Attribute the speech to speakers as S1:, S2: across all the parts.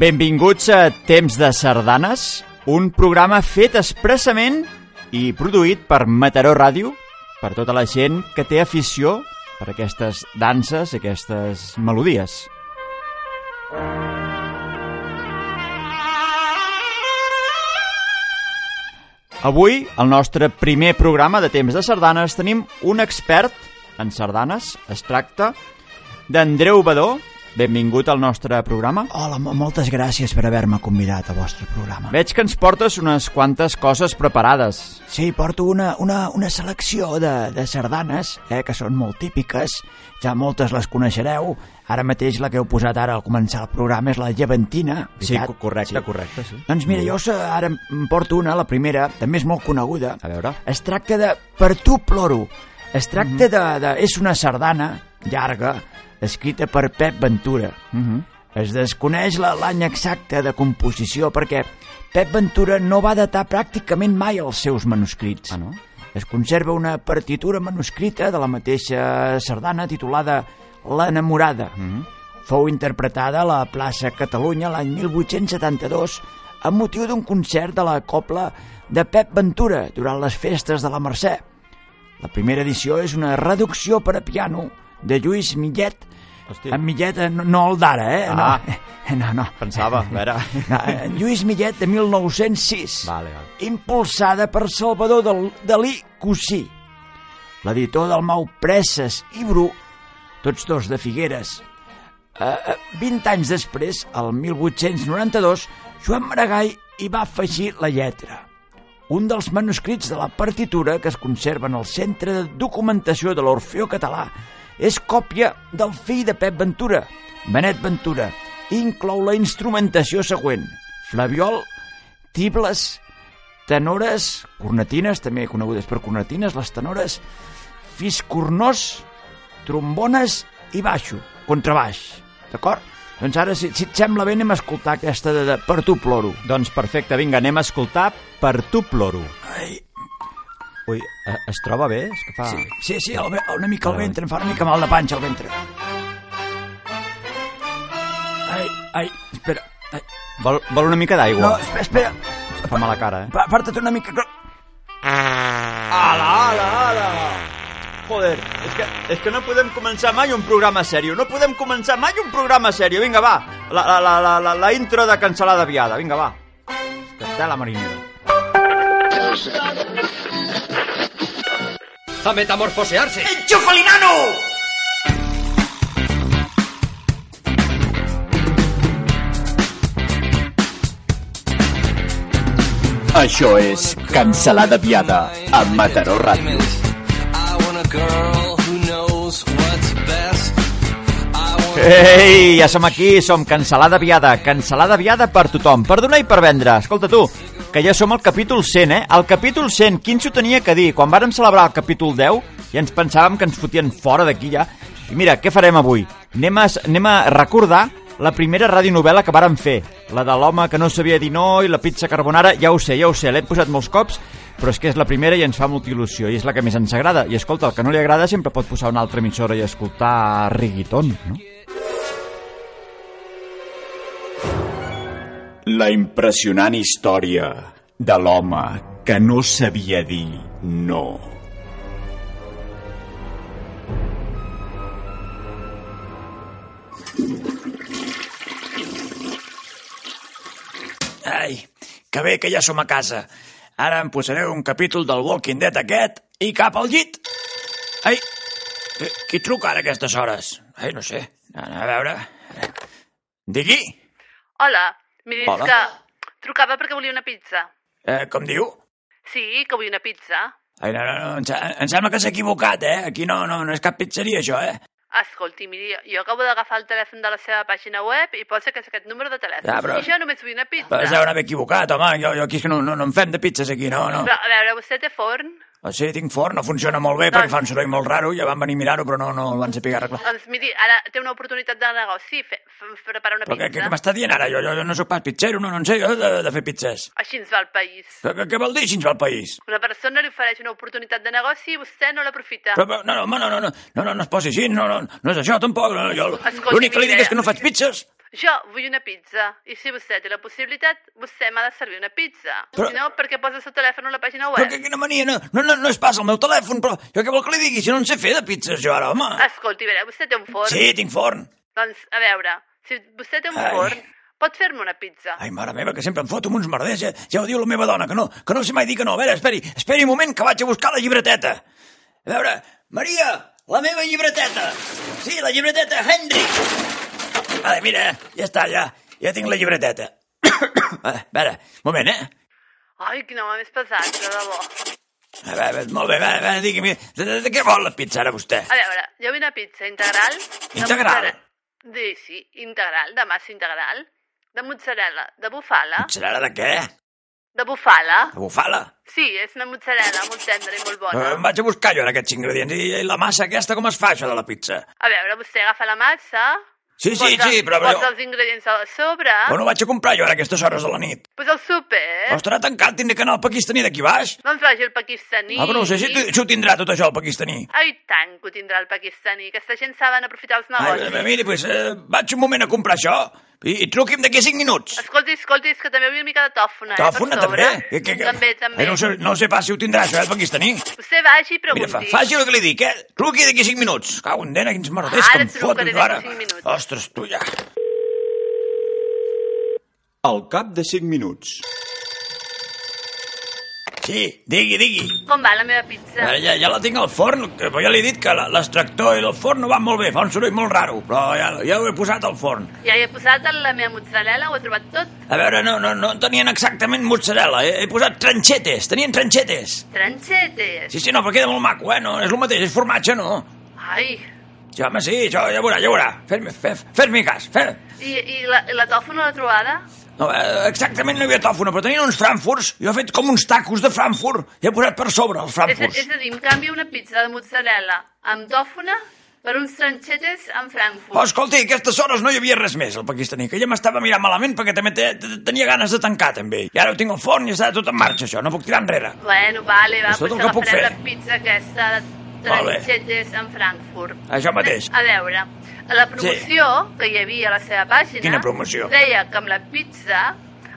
S1: Benvinguts a Temps de Sardanes, un programa fet expressament i produït per Mataró Ràdio, per tota la gent que té afició per aquestes danses, aquestes melodies. Avui, al nostre primer programa de Temps de Sardanes, tenim un expert en sardanes. Es tracta d'Andreu Badó. Benvingut al nostre programa.
S2: Hola, mo- moltes gràcies per haver-me convidat al vostre programa.
S1: Veig que ens portes unes quantes coses preparades.
S2: Sí, porto una, una, una selecció de, de sardanes, eh, que són molt típiques, ja moltes les coneixereu. Ara mateix la que heu posat ara al començar el programa és la llevantina. veritat?
S1: correcte, sí.
S2: Doncs mira, jo us, eh, ara em porto una, la primera, també és molt coneguda.
S1: A veure.
S2: Es tracta de Per tu ploro. Es tracta de, de... És una sardana llarga, escrita per Pep Ventura.
S1: Uh -huh.
S2: Es desconeix la- l'any exacte de composició perquè Pep Ventura no va datar pràcticament mai els seus manuscrits.
S1: Ah, no?
S2: Es conserva una partitura manuscrita de la mateixa sardana titulada L'enamorada.
S1: Mhm.
S2: Mm -hmm. Fou interpretada a la plaça Catalunya l'any 1872 amb motiu d'un concert de la copla de Pep Ventura durant les festes de la Mercè. La primera edició és una reducció per a piano de Lluís Millet,
S1: Hosti.
S2: en Millet, eh, no, no el d'ara, eh?
S1: Ah.
S2: No, no, no.
S1: Pensava, a veure.
S2: No, eh, Lluís Millet, de 1906.
S1: Vale, vale.
S2: Impulsada per Salvador Dal- Dalí Cossí, l'editor del Mau Presses i Bru, tots dos de Figueres. Eh, eh, 20 anys després, el 1892, Joan Maragall hi va afegir la lletra. Un dels manuscrits de la partitura que es conserva en el Centre de Documentació de l'Orfeó Català és còpia del fill de Pep Ventura, Benet Ventura, i inclou la instrumentació següent. Flaviol, tibles, tenores, cornetines, també conegudes per cornetines, les tenores, fiscornós, trombones i baixo, contrabaix. D'acord? Doncs ara, si, si et sembla bé, anem a escoltar aquesta de, de Per tu ploro.
S1: Doncs perfecte, vinga, anem a escoltar Per tu ploro.
S2: Ai,
S1: Ui, eh, es troba bé? És que fa...
S2: sí, sí, sí el, ve- una
S1: Ah.
S2: mica el ventre, em fa una mica mal de panxa el ventre. Ai, ai, espera. Ai,
S1: Vol, vol una mica
S2: no,
S1: d'aigua?
S2: espera, espera.
S1: No. Fa mala cara, eh?
S2: Pa- Aparta't una mica. que-
S1: Ala, ala, ala! Joder, és que, és que no podem començar mai un programa sèrio. No podem començar mai un programa sèrio. Vinga, va. La, la, la, la, la, la intro de cancel·lada viada. Vinga, va. És Que està la marinera.
S3: a metamorfosearse.
S4: Això és Cancelada Viada, a Mataró Ràdio.
S1: Ei, ja som aquí, som Cancelada Viada, Cancelada Viada per tothom, per donar i per vendre. Escolta tu, que ja som al capítol 100, eh? Al capítol 100, quin s'ho tenia que dir? Quan vàrem celebrar el capítol 10 ja ens pensàvem que ens fotien fora d'aquí ja. I mira, què farem avui? Anem a, anem a recordar la primera radionovel·la que vàrem fer, la de l'home que no sabia dir no i la pizza carbonara, ja ho sé, ja ho sé, l'hem posat molts cops, però és que és la primera i ens fa molta il·lusió, i és la que més ens agrada. I escolta, el que no li agrada sempre pot posar una altra emissora i escoltar reggaeton, no?
S4: La impressionant història de l'home que no sabia dir no.
S2: Ai, que bé que ja som a casa. Ara em posaré un capítol del Walking Dead aquest i cap al llit. Ai, eh, qui truca ara a aquestes hores? Ai, no sé. Anem a veure. Eh, Digui,
S3: Hola, miri, és
S2: Hola.
S3: que trucava perquè volia una pizza.
S2: eh, com diu?
S3: Sí, que vull una pizza.
S2: Ai, no, no, no, em, se- em sembla que s'ha equivocat, eh? Aquí no, no, no és cap pizzeria, això, eh?
S3: Escolti, miri, jo acabo d'agafar el telèfon de la seva pàgina web i posa que és aquest número de telèfon.
S2: Ja, Ah, però-
S3: I jo només vull una pizza.
S2: Però es deuen haver equivocat, home. Jo, jo aquí és que no, no, no en fem de pizzas, aquí, no, no.
S3: Però, a veure, vostè té forn?
S2: O sigui, tinc forn, no funciona molt bé perquè fa un soroll molt raro, ja van venir a mirar-ho, però no, no el van saber arreglar.
S3: Doncs miri, ara té una oportunitat de negoci, fe, fe, preparar una
S2: Però què, què,
S3: pizza.
S2: què m'està dient ara? Jo, jo, jo no sóc pas pizzero, no, no en sé jo de, de fer pizzas.
S3: Així ens va el país.
S2: Però Què, què vol dir així al país?
S3: Una persona li ofereix una oportunitat de negoci i vostè no l'aprofita.
S2: Però, però, no, no, home, no, no, no, no, no, no es posi així, no, no, no és això tampoc. No, jo,
S3: Escolti,
S2: l'únic que li dic
S3: mira.
S2: és que no faig pizzas.
S3: Jo vull una pizza, i si vostè té la possibilitat, vostè m'ha de servir una pizza.
S2: Però-
S3: Si no, perquè posa el seu telèfon a la pàgina web.
S2: Però que, quina mania, no, no, no, no es passa el meu telèfon, però jo què vol que li digui si no en sé fer de pizzas jo ara, home?
S3: Escolti, a veure, vostè té un forn?
S2: Sí, tinc forn.
S3: Doncs, a veure, si vostè té un
S2: Ai.
S3: forn, pot fer-me una pizza.
S2: Ai, mare meva, que sempre em foto amb uns merders, ja, ja ho diu la meva dona, que no, que no sé mai dir que no. A veure, esperi, esperi un moment que vaig a buscar la llibreteta. A veure, Maria, la meva llibreteta. Sí, la llibreteta Henry. Vale, mira, ja està, ja, ja tinc la llibreteta. a veure, un moment, eh?
S3: Ai, quin home més pesat, de debò.
S2: A veure, molt bé, va, va, digui'm, de, de, de, què vol la pizza ara vostè?
S3: A veure, jo vull una pizza integral... de
S2: Integral?
S3: mozzarella- Sí, sí, integral, de massa integral, de mozzarella, de bufala,
S2: Serà de què?
S3: de bufala...
S2: De bufala?
S3: Sí, és una mozzarella molt tendra i molt bona.
S2: Eh, Em vaig a buscar jo en aquests ingredients. I, I la massa aquesta, com es fa, això de la pizza?
S3: A veure, vostè agafa la massa...
S2: Sí, sí,
S3: posa,
S2: sí, però...
S3: Posa
S2: però
S3: els ingredients a sobre...
S2: on ho vaig a comprar jo ara, a aquestes hores de la nit?
S3: Posa el súper...
S2: Però estarà tancat, tindré que anar al pakistaní d'aquí baix.
S3: Doncs vagi al pakistaní...
S2: Ah, però no sé si, si ho tindrà tot això, el pakistaní.
S3: Ai, Ah, tant que ho tindrà el pakistaní. Aquesta gent saben aprofitar els
S2: Ai,
S3: negocis.
S2: eh, mira, doncs eh, vaig un moment a comprar això i, i truqui'm d'aquí a 5 minuts.
S3: Escolti, escolti, és que també vull una mica de tòfona. eh, per
S2: Telefona
S3: sobre.
S2: també? Que, que, que...
S3: També, també.
S2: Eh, no, sé, no sé pas si ho tindrà això, eh, el pakistaní.
S3: Vostè vagi i pregunti.
S2: Mira, fa, faci el que li dic, eh? Truqui d'aquí a 5 minuts. Cau en dena, quins merders
S3: Ara
S2: que em
S3: trucaré
S2: foto
S3: d'aquí
S2: jo ara.
S3: a cinc minuts.
S2: Ostres, tu ja.
S4: Al cap de 5 minuts.
S2: Sí, digui, digui.
S3: Com va la meva pizza?
S2: Ara ja, ja la tinc al forn, que ja li he dit que la- l'extractor i el forn no van molt bé, fa un soroll molt raro, però ja, ja ho he posat al forn.
S3: Ja hi he posat la meva mozzarella, ho he trobat tot.
S2: A veure, no, no, no tenien exactament mozzarella, he, he posat tranxetes, tenien tranxetes.
S3: Tranxetes.
S2: Sí, sí, no, però queda molt maco, eh? No, és el mateix, és formatge, no?
S3: Ai,
S2: Sí, home, sí, això ja ho veurà, ja ho veurà. Fes-me fes, fes cas, fes...
S3: i, i la, i la tòfona la trobada?
S2: No, eh, exactament no hi havia tòfona, però tenien uns frankfurts, jo he fet com uns tacos de frankfurt, i he posat per sobre els
S3: És,
S2: frankfurts.
S3: és a dir, em canvio una pizza de mozzarella amb tòfona per uns tranxetes amb
S2: Oh,
S3: Frankfurt.
S2: escolti, a aquestes hores no hi havia res més, el pakistaní, que ja m'estava mirant malament perquè també te, te, tenia ganes de tancar, també. I ara ho tinc al forn i està tot en marxa, això, no puc tirar enrere.
S3: Bueno, vale, va,
S2: És tot
S3: doncs
S2: el que puc
S3: agafarem
S2: fer.
S3: la pizza aquesta de
S2: Molt bé.
S3: tranxetes amb Frankfurt.
S2: Això mateix.
S3: A veure, a la promoció que hi havia a la seva pàgina...
S2: Quina promoció?
S3: Deia que amb la pizza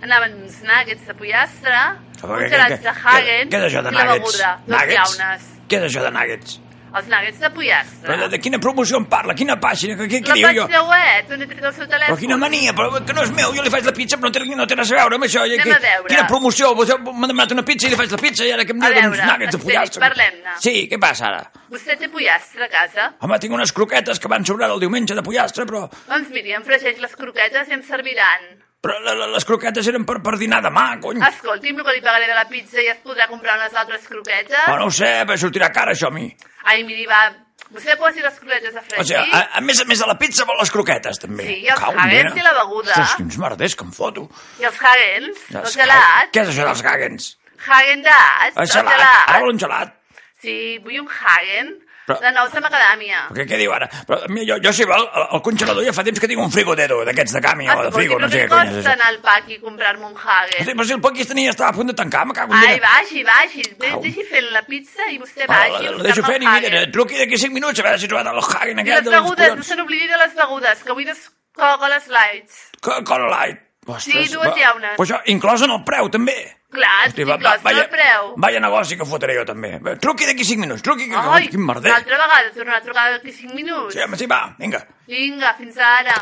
S3: anaven uns nuggets de pollastre,
S2: Però
S3: un
S2: què-
S3: gelat
S2: què-
S3: de
S2: què-
S3: Hagen
S2: Què és això de
S3: i la
S2: nuggets?
S3: beguda, dos
S2: Nuggets?
S3: llaunes.
S2: Què és això de nuggets?
S3: Els nuggets de pollastre.
S2: Però de, de quina promoció em parla? Quina pàgina? Què, què, què
S3: la
S2: diu jo?
S3: pàgina web, on eh? he tret el seu telèfon.
S2: Però quina mania, però que no és meu, jo li faig la pizza, però no té, no té res a veure amb això. I
S3: Anem
S2: que-
S3: a veure.
S2: Quina promoció? Vostè M'ha demanat una pizza i li faig la pizza i ara que em
S3: A
S2: diu d'uns
S3: veure,
S2: nuggets de
S3: esperi,
S2: pollastre.
S3: parlem-ne.
S2: Sí, què passa ara?
S3: Vostè té pollastre a casa?
S2: Home, tinc unes croquetes que van sobrar el diumenge de pollastre, però,
S3: Doncs miri, em fregeix les croquetes i em serviran.
S2: però la- la- les croquetes eren per, per dinar demà, cony.
S3: Escolti'm, el que li pagaré de la pizza ja es podrà comprar unes altres croquetes.
S2: Però no ho sé, però sortirà cara això a mi.
S3: Ai, miri, va, vostè posi les croquetes a fregir.
S2: O sigui, a, a més a més de la pizza vol les croquetes, també.
S3: Sí, i els
S2: Cau en
S3: nuggets
S2: dena.
S3: i la beguda.
S2: Ostres, quins merders que em foto.
S3: I els Hagens, el
S2: Els
S3: gelat,
S2: Què és això dels Ah, gagens?
S3: Hagen d'Az,
S2: El
S3: el
S2: gelat.
S3: gelat.
S2: Ara vol un gelat.
S3: Sí, vull un Hagen
S2: Però-
S3: de nous de macadàmia.
S2: Però Què, què diu ara? Però, mira, jo, jo si vol, al al congelador ja fa temps que tinc un frigodero d'aquests de
S3: Ah,
S2: camió o de frigo, no sé
S3: què
S2: què cony és
S3: costa
S2: això.
S3: anar al pac i comprar-me un Hagen?
S2: Hosti, Però si el pakistaní ja estava a punt de tancar, me cago en
S3: Ai,
S2: dena.
S3: vagi, vagi, de- deixi fent la pizza i vostè
S2: Va,
S3: vagi.
S2: la- la,
S3: a
S2: la deixo
S3: buscar-me
S2: fent
S3: el
S2: i mira,
S3: Hagen.
S2: truqui d'aquí 5 minuts a veure si he trobat el Hagen
S3: I
S2: aquest
S3: les
S2: dels
S3: begudes, no
S2: collons.
S3: se n'oblidi de les begudes, que avui des... Coca-Cola Slides.
S2: Co- Cola Light.
S3: Sí, dues llaunes.
S2: Però això, inclòs en el preu, també.
S3: Clar, sí,
S2: va-
S3: inclòs en el
S2: vaya-
S3: preu.
S2: Vaya negoci que fotré jo, també. Bé, Truqui d'aquí 5 minuts, truqui... que-
S3: Ai,
S2: quin merder.
S3: una altra vegada, tornar a trucar d'aquí 5 minuts.
S2: Sí, home, sí, va, vinga.
S3: Vinga, fins ara.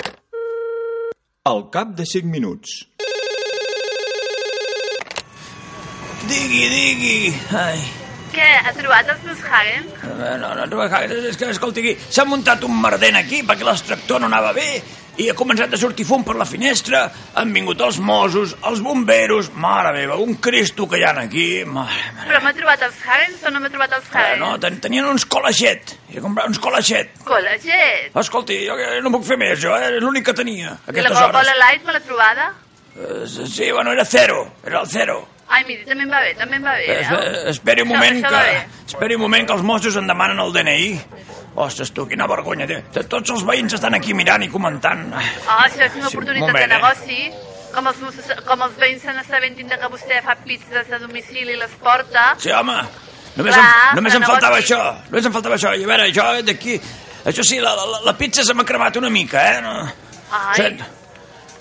S1: Al cap de 5 minuts.
S2: Digui, digui. Ai,
S3: Què, ha trobat els dos Hagen?
S2: eh, no, no, no, és que, escolti, aquí s'ha muntat un merder aquí perquè l'extractor no anava bé i ha començat a sortir fum per la finestra, han vingut els Mossos, els bomberos, mare meva, un Cristo que hi ha aquí, mare meva.
S3: Però m'ha trobat els Hagen o no m'ha trobat els
S2: Eh,
S3: Hagen?
S2: no, ten tenien uns colaixet, he comprat uns colaixet.
S3: Col·legiat.
S2: Escolti, jo, jo no puc fer més, jo, eh? és l'únic que tenia,
S3: I la
S2: aquestes hores.
S3: Coca-Cola Light me l'ha trobada?
S2: Eh, sí, bueno, era zero, era el zero.
S3: Ai, miri, també em va bé, també em va bé.
S2: Es-
S3: Eh?
S2: eh, Esperi un
S3: Això-
S2: moment
S3: això
S2: que...
S3: va bé.
S2: Esperi un moment que els Mossos en demanen el DNI. Ostres, tu, quina vergonya. té. T- Tots els veïns estan aquí mirant i comentant.
S3: Ah, això és una
S2: Sí,
S3: oportunitat
S2: moment,
S3: de
S2: eh?
S3: negoci. Com els, mossos- com els veïns se n'assabentin de que vostè fa pizzas a domicili i les porta,
S2: Sí, home, només,
S3: Clar,
S2: em, només
S3: però
S2: em
S3: no
S2: faltava
S3: vols dir-
S2: això. Només em faltava això. I a veure, jo d'aquí... Això sí, la, la, la pizza se m'ha cremat una mica, eh? No,
S3: Ai.
S2: Sent-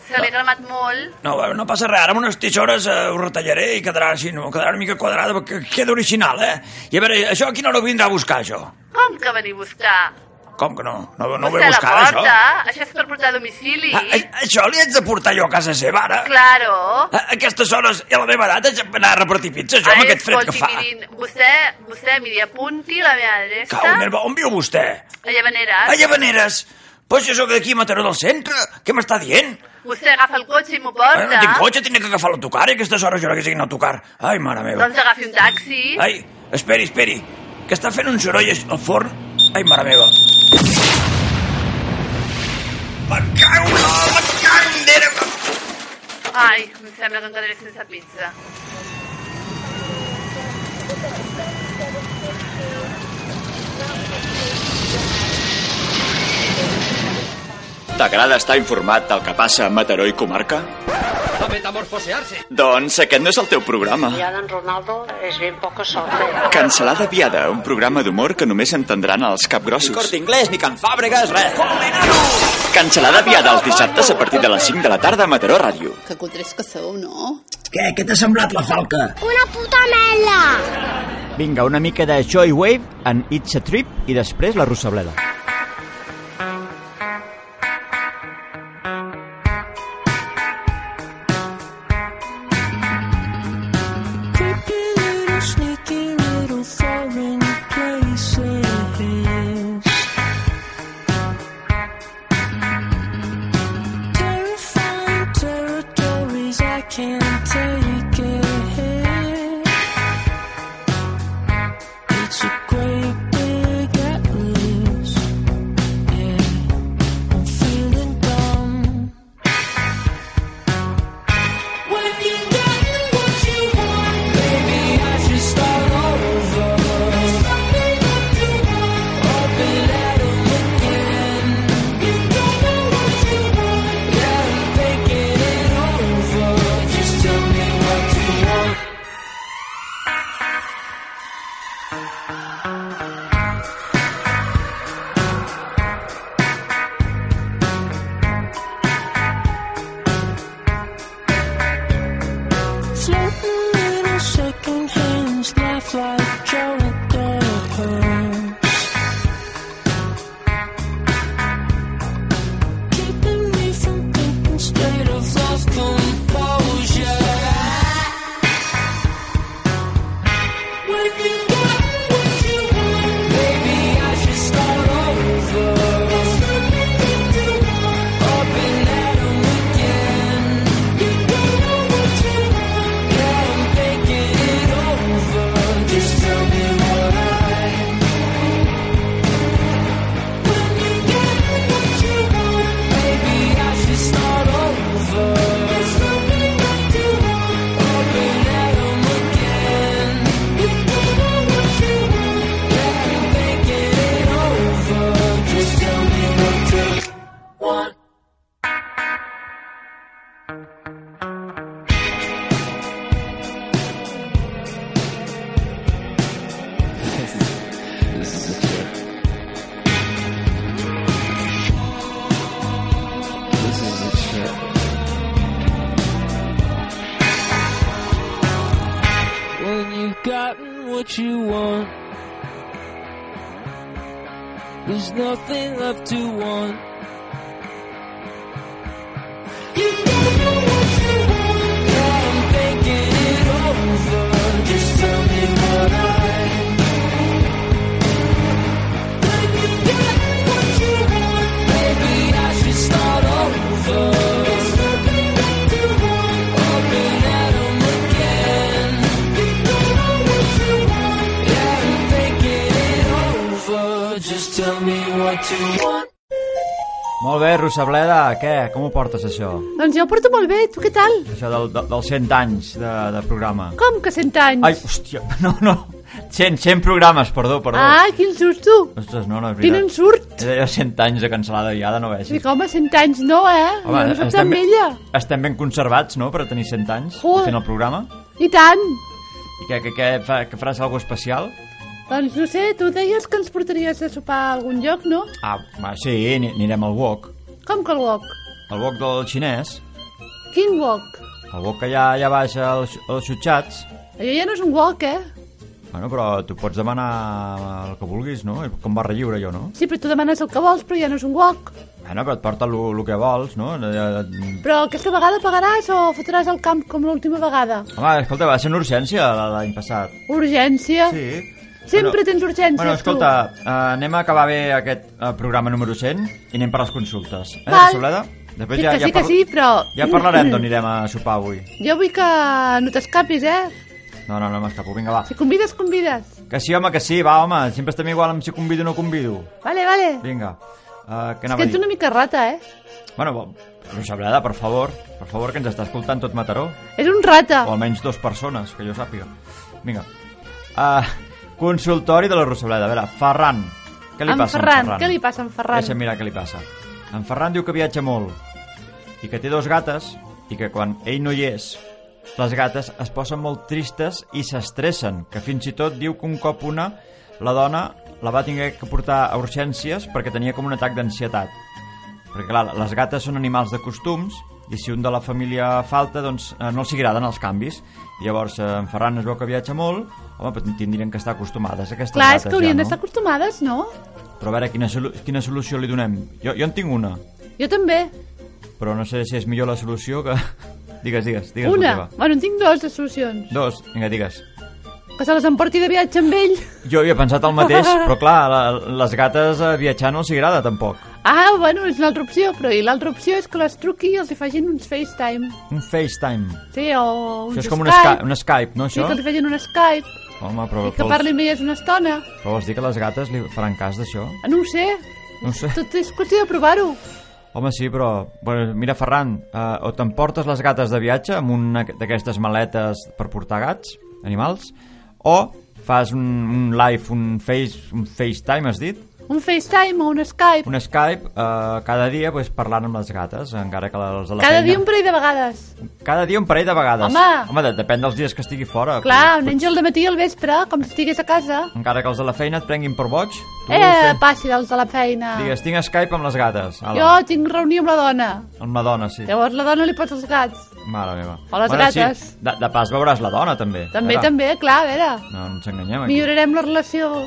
S3: se l'he cremat molt.
S2: no, eh, no passa res, ara amb unes tisores eh, ho retallaré i quedarà així, no, quedarà una mica quadrada, perquè queda original, eh? I a veure, això a quina hora ho vindrà a buscar, això?
S3: Com que venir a buscar?
S2: Com que no? No, no ho ve a
S3: vostè la
S2: buscar, ara,
S3: porta?
S2: això?
S3: Això és per portar a domicili?
S2: Ah, a- això li haig de portar jo a casa seva, ara?
S3: Claro.
S2: A aquestes hores i a la meva edat haig d'anar a repartir pizzas, jo, amb aquest fred que fa.
S3: Mirin, vostè, vostè, miri, apunti la meva adreça.
S2: Cau, nerva, on viu vostè?
S3: A Llavaneres.
S2: A Llavaneres. Però si jo sóc d'aquí a Mataró del centre, què m'està dient?
S3: Vostè agafa el cotxe i m'ho
S2: Ara
S3: porta.
S2: no tinc cotxe, tindré que agafar l'autocar i a aquestes hores jo no que siguin autocar. Ai, mare meva.
S3: Doncs agafi un taxi.
S2: Ai, esperi, esperi, que està fent un soroll al forn. Ai, mare meva. Me cago, no, me cago, en Déu.
S3: Ai, em sembla que em quedaré sense pizza.
S1: T'agrada estar informat del que passa a Mataró i comarca?
S5: a metamorfosearse.
S1: Doncs aquest no és el teu programa.
S6: Ya don Ronaldo es bien poco sorteo.
S1: Cancelada Viada, un programa d'humor que només entendran els capgrossos.
S7: Inglés, ni Can Fàbregas, res.
S1: Cancelada Viada els dissabtes a partir de les 5 de la tarda a Mataró Ràdio.
S8: Que cutres que sou, no?
S9: Què? Què t'ha semblat la falca?
S10: Una puta mela!
S7: Vinga, una mica de Joy Wave en It's a Trip i després la Rossableda.
S5: Just
S11: gotten what you want. There's nothing left to want. You don't know what you want. Now I'm thinking it over. Just tell me what I know. When you got what you want, maybe I should start over. There's nothing left to want. Up and at 'em again. You don't know what you want. Yeah, I'm thinking it over. Just tell me what you want.
S1: Molt bé, Rosableda, què? Com ho portes, això?
S10: Doncs jo ho porto molt bé, tu què tal?
S1: Això del, del, dels 100 anys de, de programa.
S10: Com que 100 anys?
S1: Ai, hòstia, no, no. 100, 100 programes, perdó, perdó.
S10: Ai, Ah, quin susto!
S1: Ostres, no, no, és veritat.
S10: Quin ensurt!
S1: És allò 100 anys de cancel·lada viada, no vegis.
S10: Dic, home, 100 anys no, eh? Home, jo no soc tan vella.
S1: estem ben conservats, no?, per tenir 100 anys
S10: Joder.
S1: fent el programa.
S10: I tant!
S1: I què, què, què, fa, que faràs alguna especial?
S10: Doncs no sé, tu deies que ens portaries a sopar a algun lloc, no?
S1: Ah, va, sí, ani- anirem al wok.
S10: Com que el wok?
S1: El wok del xinès.
S10: Quin wok?
S1: El wok que hi ha allà baix als, als xutxats.
S10: Allò ja no és un wok, eh?
S1: Bueno, però tu pots demanar el que vulguis, no? Com barra lliure, jo, no?
S10: Sí, però tu demanes el que vols, però ja no és un wok.
S1: Bueno, però et porta el, el que vols, no? Eh,
S10: Però aquesta vegada pagaràs o fotràs al camp com l'última vegada?
S1: Home, escolta, va ser una urgència l'any passat.
S10: Urgència?
S1: Sí.
S10: Sempre tens urgències,
S1: Bueno, escolta,
S10: tu.
S1: uh, anem a acabar bé aquest uh, programa número 100 i anem per les consultes. Eh,
S10: Val.
S1: Soleda?
S10: Sí que sí que sí, però-
S1: Ja parlarem d'on anirem a sopar avui.
S10: Jo vull que no t'escapis, eh?
S1: No, no, no m'escapo. Vinga, va.
S10: Si convides, convides.
S1: Que sí, home, que sí, va, home. Sempre estem igual amb si convido o no convido.
S10: Vale, vale.
S1: Vinga. Uh, què
S10: És
S1: anava
S10: que
S1: a
S10: ets
S1: dir?
S10: una mica rata, eh?
S1: Bueno, bo- Rosableda, per favor, per favor, que ens està escoltant tot Mataró.
S10: És un rata.
S1: O almenys dues persones, que jo sàpiga. Vinga. Uh, consultori de la Rosableda. A veure, Ferran. Què li
S10: en
S1: passa
S10: Ferran,
S1: a en Ferran?
S10: Què li passa a en Ferran?
S1: Deixa'm mirar què li passa. En Ferran diu que viatja molt i que té dos gates i que quan ell no hi és, les gates es posen molt tristes i s'estressen, que fins i tot diu que un cop una, la dona la va tenir que portar a urgències perquè tenia com un atac d'ansietat. Perquè, clar, les gates són animals de costums i si un de la família falta, doncs eh, no els agraden els canvis. Llavors, eh, en Ferran es veu que viatja molt, home, però tindrien que estar acostumades a aquestes
S10: Clar, és
S1: gates
S10: que haurien
S1: ja, no?
S10: d'estar acostumades, no?
S1: Però a veure, quina, solu quina solució li donem? Jo, jo en tinc una,
S10: Jo també.
S1: però no sé si és millor la solució que... digues, digues, digues.
S10: Una.
S1: la teva.
S10: Bueno, en tinc dues de solucions.
S1: Dos, vinga, digues.
S10: Que se les emporti de viatge amb ell.
S1: Jo havia pensat el mateix, però clar, la, les gates eh, viatjar no els agrada tampoc.
S10: Ah, bueno, és una altra opció, però i l'altra opció és que les truqui i els hi facin uns FaceTime.
S1: Un FaceTime.
S10: Sí, o uns
S1: Això és com un
S10: Skype.
S1: Skype, un Skype no,
S10: Sí,
S1: això?
S10: que els hi facin un Skype,
S1: Home, però,
S10: que
S1: però,
S10: parlin
S1: vols,
S10: amb elles una estona.
S1: però vols dir que les gates li faran cas d'això?
S10: Ah, No ho sé,
S1: No ho sé.
S10: tot és qüestió de provar-ho.
S1: Home, sí, però... Bueno, mira, Ferran, eh, o t'emportes les gates de viatge amb una d'aquestes maletes per portar gats, animals, o fas un, un live, un, face, un FaceTime, has dit?
S10: Un FaceTime o un Skype,
S1: Un Skype, eh, cada dia pues, parlant amb les gates, encara que les de la
S10: cada
S1: feina...
S10: dia un parell de vegades.
S1: Cada dia un parell de vegades.
S10: Home!
S1: Home, de, depèn dels dies que estigui fora.
S10: Clar, un àngel de matí i al vespre, com si estigués a casa.
S1: Encara que els de la feina et prenguin per boig, tu
S10: Eh,
S1: fent-
S10: passi dels de la feina.
S1: digues, tinc Skype amb les gates. Ala,
S10: Jo tinc reunió amb la dona.
S1: Amb la dona, sí.
S10: Llavors la dona li posa els gats.
S1: Mare meva.
S10: O les gates.
S1: Sí, de, de pas veuràs la dona, també.
S10: També,
S1: Ara,
S10: també, clar, a veure.
S1: No, no ens enganyem aquí.
S10: Millorarem la relació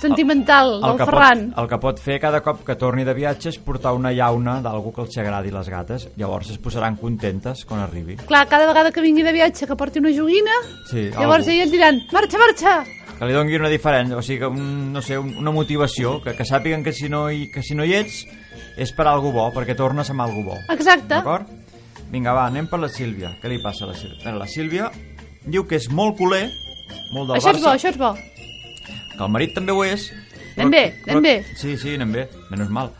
S10: sentimental del
S1: que
S10: Ferran.
S1: Pot, el que pot fer cada cop que torni de viatge és portar una llauna d'algú que els agradi les gates. Llavors es posaran contentes quan arribi.
S10: Clar, cada vegada que vingui de viatge que porti una joguina,
S1: Sí,
S10: llavors
S1: algú.
S10: elles diran, marxa, marxa!
S1: Que li dongui una diferència, o sigui, que un, no sé, un, una motivació, que, que sàpiguen que si, no hi, que si no hi ets és per algú bo, perquè tornes amb algú bo.
S10: Exacte.
S1: D'acord? Vinga, va, anem per la Sílvia. Què li passa a la Sílvia? Bueno, la Sílvia diu que és molt culer, molt del
S10: Això és bo,
S1: Barça,
S10: això és bo.
S1: que el marit també ho és. eh,
S10: Anem bé, anem bé.
S1: Sí, sí, anem bé, menys mal.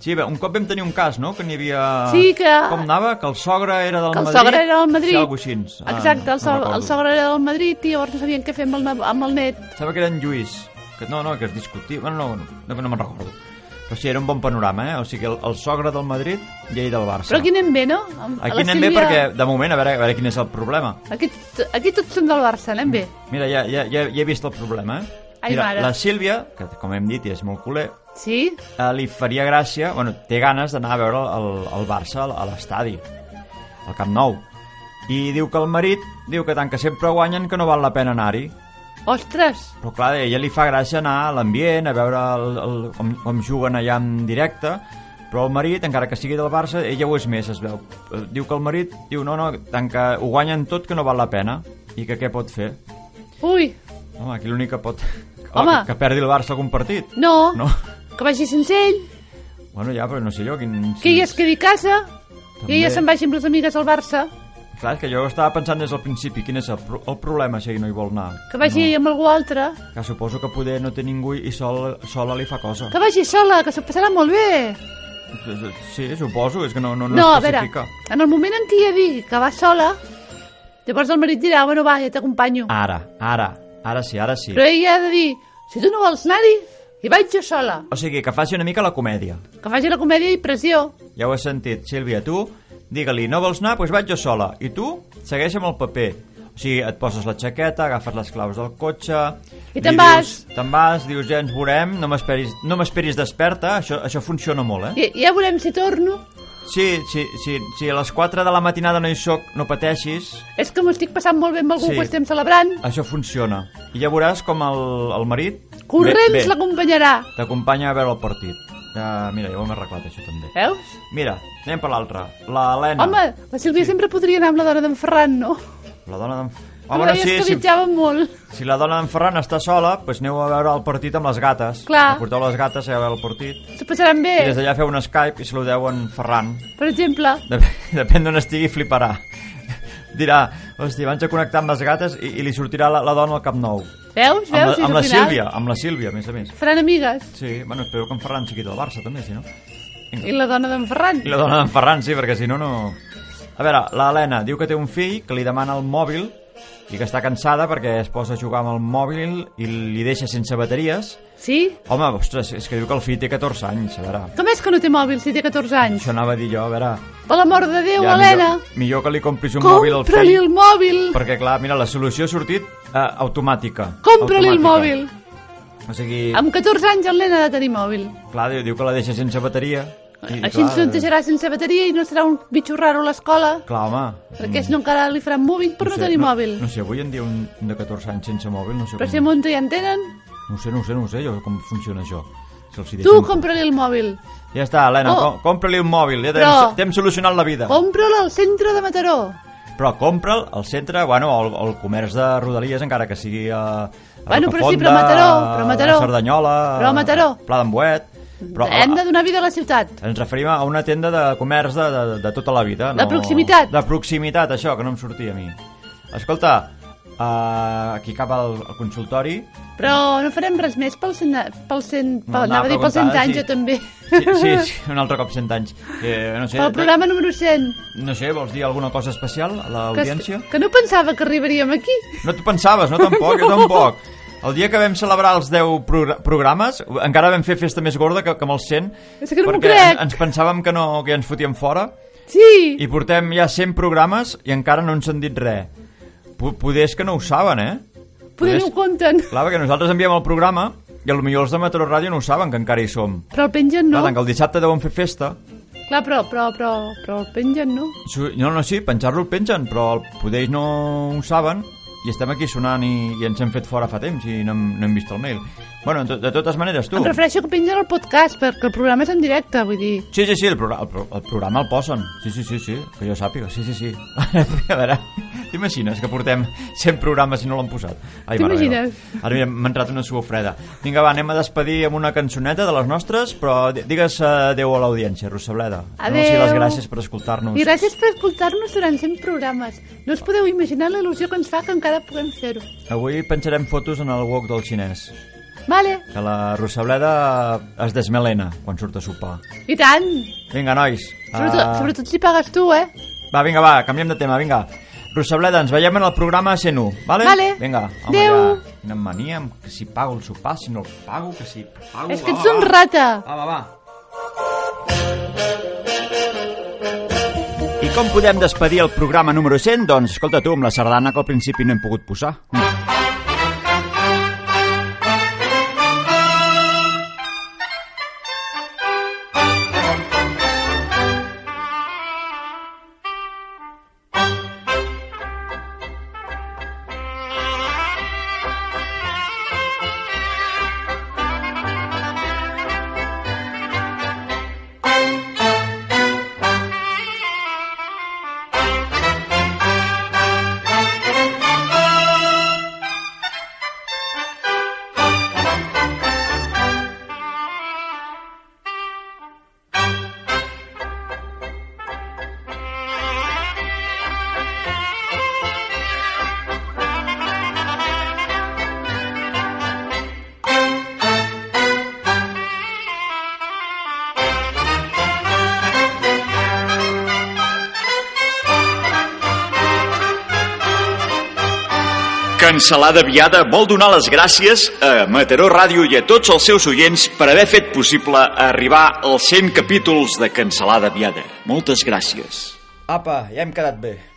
S1: Sí, bé, un cop vam tenir un cas, no?, que n'hi havia...
S10: Sí, que-
S1: Com anava? Que el sogre era del
S10: Que el
S1: Madrid.
S10: sogre era del Madrid.
S1: Sí, alguna cosa així. Ah,
S10: Exacte, el, so
S1: recordo.
S10: el sogre era del Madrid i llavors no sabien què fer amb el, ne- amb el net.
S1: Pensava que era en Lluís. Que, no, no, que es discutia. Bueno, no, no, no, no me'n recordo. Però sí, era un bon panorama, eh? O sigui, el, el sogre del Madrid i ell del Barça.
S10: Però aquí anem bé, no? Amb- a la
S1: Aquí anem bé
S10: Sílvia-
S1: perquè, de moment, a veure, a veure quin és el problema.
S10: Aquí, t- aquí tots som del Barça, anem bé.
S1: Mira, ja, ja, ja, ja he vist el problema, eh?
S10: Ai,
S1: Mira,
S10: mare.
S1: la Sílvia, que com hem dit és molt culer,
S10: Sí?
S1: eh, li faria gràcia, bueno, té ganes d'anar a veure el, el Barça a l'estadi, al Camp Nou. I diu que el marit diu que tant que sempre guanyen que no val la pena anar-hi.
S10: Ostres!
S1: Però clar, a ella li fa gràcia anar a l'ambient, a veure el, el, com, com juguen allà en directe, però el marit, encara que sigui del Barça, ella ho és més, es veu. Eh, Diu que el marit diu, no, no, tant que ho guanyen tot que no val la pena, i que què pot fer?
S10: Ui,
S1: Home, aquí l'únic que pot...
S10: Home.
S1: Que, que perdi el Barça algun partit.
S10: no,
S1: No?
S10: que vagi sense ell,
S1: Bueno, ja, però no sé jo quin...
S10: que ella es quedi a casa, i ella
S1: També.
S10: se'n vagi amb les amigues al Barça,
S1: Clar, és que jo estava pensant des del principi quin és el, pro el problema si ell no hi vol anar.
S10: que vagi ella amb algú altre,
S1: Que suposo que poder no té ningú i sol, sola li fa cosa.
S10: que vagi sola, que s'ho passarà molt bé.
S1: Sí, suposo, és que no, no, no,
S10: No, a veure,
S1: especifica.
S10: en el moment en què ella digui que va sola, llavors el marit dirà, bueno, va, ja t'acompanyo.
S1: Ara, ara, ara sí, ara sí.
S10: Però ella ha de dir, si tu no vols anar-hi, hi vaig jo sola.
S1: O sigui, que faci una mica la comèdia.
S10: Que faci la comèdia i pressió.
S1: Ja ho has sentit, Sílvia, tu digue-li, no vols anar, doncs vaig jo sola. I tu segueix amb el paper. O sigui, et poses la xaqueta, agafes les claus del cotxe... li
S10: I
S1: dius-
S10: te'n vas.
S1: Te'n vas, dius, ja ens veurem, no m'esperis no m'esperis desperta, això, això funciona molt, eh?
S10: I, ja veurem si torno.
S1: Sí, sí, sí, sí, a les 4 de la matinada no hi soc, no pateixis,
S10: És que m'ho estic passant molt bé amb algú
S1: Sí.
S10: sí. que estem celebrant.
S1: això funciona. I ja veuràs com el, el marit...
S10: Corrents
S1: Bé, bé,
S10: l'acompanyarà.
S1: T'acompanya a veure el partit. Ja, mira, ja ho hem arreglat, això també.
S10: Veus?
S1: Mira, anem per l'altra. L'Helena.
S10: Eh? Home, la Sílvia sí. sempre podria anar amb la dona d'en Ferran, no?
S1: La dona d'en...
S10: A
S1: Home, no,
S10: sí,
S1: sí,
S10: que
S1: si,
S10: viatjaven molt.
S1: si la dona d'en Ferran està sola, doncs aneu a veure el partit amb les gates.
S10: Clar.
S1: Porteu les gates a veure el partit.
S10: S'ho passaran bé.
S1: I des d'allà feu un Skype i saludeu en Ferran.
S10: Per exemple,
S1: Dep- Depèn d'on estigui, fliparà. Dirà, hòstia, abans de connectar amb les gates i, i li sortirà la, la dona al cap nou.
S10: veus? Veus?
S1: amb la,
S10: És
S1: amb
S10: al
S1: la
S10: final.
S1: Sílvia, amb la Sílvia, a més a més.
S10: Faran amigues.
S1: Sí, bueno, espero que en Ferran sigui del Barça, també, si no.
S10: I la dona d'en Ferran.
S1: I la dona d'en Ferran, sí, perquè si no, no... A veure, l'Helena diu que té un fill que li demana el mòbil i que està cansada perquè es posa a jugar amb el mòbil i li deixa sense bateries.
S10: Sí?
S1: Home, ostres, és que diu que el fill té 14 anys, a veure...
S10: Com és que no té mòbil si té 14 anys?
S1: Això anava a dir jo, a veure...
S10: Per l'amor de Déu,
S1: ja,
S10: Helena,
S1: Millor, millor que li compris un mòbil al
S10: compra-li
S1: fill.
S10: el mòbil!
S1: Perquè, clar, mira, la solució ha sortit eh, automàtica.
S10: Compra-li el
S1: Automàtica.
S10: mòbil!
S1: O sigui,
S10: Amb 14 anys el nen ha de tenir mòbil.
S1: clar, diu, diu que la deixa sense bateria. I,
S10: Així ens tontejarà sense bateria i no serà un bitxo raro a l'escola.
S1: Clar, home.
S10: Aquests no encara li faran mòbil per no,
S1: sé,
S10: tenir mòbil.
S1: No sé, avui en dia un de 14 anys sense mòbil, no sé
S10: Però
S1: com...
S10: si a Monte ja en tenen,
S1: No ho sé, no ho sé, no ho sé, jo com funciona això. Si els hi
S10: tu
S1: deixen-
S10: compra-li el mòbil.
S1: Ja està, Helena,
S10: Oh.
S1: com, compra-li un mòbil, ja t'hem
S10: Però-
S1: t'hem solucionat la vida.
S10: Compra'l al centre de Mataró.
S1: Però compra'l al centre, bueno, al, al comerç de Rodalies, encara que sigui a, a
S10: Bueno, però sí,
S1: Rocafonda,
S10: però a Mataró, però a Mataró.
S1: a Cerdanyola, eh,
S10: Però a Mataró.
S1: Pla d'en Boet. Però a,
S10: Hem de donar vida a la ciutat.
S1: ens referim a una tenda de comerç de, de, de tota la vida.
S10: De proximitat.
S1: De proximitat, això, que no em sortia a mi. Escolta, uh, aquí cap al, al consultori,
S10: Però no farem res més pel cent... Pel cent
S1: No,
S10: pel,
S1: anava
S10: anava a dir
S1: a
S10: pel cent
S1: preguntar,
S10: anys,
S1: sí.
S10: jo també.
S1: Sí, sí, sí, un altre cop 100 anys. Eh, no sé,
S10: Pel programa número 100.
S1: no sé, vols dir alguna cosa especial a
S10: Que,
S1: l'audiència?
S10: que no pensava que arribaríem aquí.
S1: No t'ho pensaves, no? Tampoc, jo
S10: No.
S1: tampoc. El dia que vam celebrar els 10 progr programes, encara vam fer festa més gorda que, que amb els 100,
S10: És que no m'ho
S1: perquè
S10: crec.
S1: en- ens pensàvem que, no, que ja ens fotíem fora,
S10: Sí,
S1: i portem ja 100 programes i encara no ens han dit res. Po- Poder és que no ho saben, eh?
S10: poder no ho compten.
S1: Clar, perquè nosaltres enviem el programa i potser els de Metro Ràdio no ho saben, que encara hi som.
S10: Però el pengen no.
S1: Clar, tant que el dissabte deuen fer festa,
S10: Clar, però, però, però, però el pengen no.
S1: Su- No, no, sí, penjar-lo el pengen, però el poder ells no ho saben i estem aquí sonant i, i ens hem fet fora fa temps i no hem, no hem vist el mail. Bueno, de, de totes maneres, tu...
S10: Em refereixo que pengen el podcast, perquè el programa és en directe, vull dir...
S1: Sí, sí, sí, el, programa, el, pro- el programa el posen. Sí, sí, sí, sí, que jo sàpiga, sí, sí, sí. A veure, t'imagines que portem 100 programes i no l'han posat? Ai, mare meva.
S10: T'imagines?
S1: Ara mira, m'ha entrat una suor freda. Vinga, va, anem a despedir amb una cançoneta de les nostres, però di- digues eh, adeu a l'audiència, Rossableda. Donem-los
S10: Adeu.
S1: les gràcies per escoltar-nos.
S10: I gràcies per escoltar-nos durant 100 programes. No us podeu imaginar la il·lusió que ens fa que encara puguem fer-ho.
S1: Avui penjarem fotos en el wok del xinès.
S10: Vale,
S1: Que la Rossableda es desmelena quan surt a sopar.
S10: i tant!
S1: Vinga, nois.
S10: Sobretot,
S1: ah,
S10: sobretot si pagues tu, eh?
S1: Va, vinga, va, canviem de tema, vinga. Rossableda, ens veiem en el programa 101, vale?
S10: Vale.
S1: Vinga, home,
S10: Adeu.
S1: ja. Quina mania, amb que si pago el sopar, si no el pago, que si pago...
S10: És que
S1: va,
S10: ets
S1: va,
S10: un
S1: va.
S10: rata!
S1: Va, va, va. I com podem despedir el programa número 100? Doncs, escolta tu, amb la sardana que al principi no hem pogut posar.
S11: Thank
S1: Cancelada Viada vol donar les gràcies a Mataró Ràdio i a tots els seus oients per haver fet possible arribar als 100 capítols de Cancelada Viada. Moltes gràcies.
S2: Apa, ja hem quedat bé.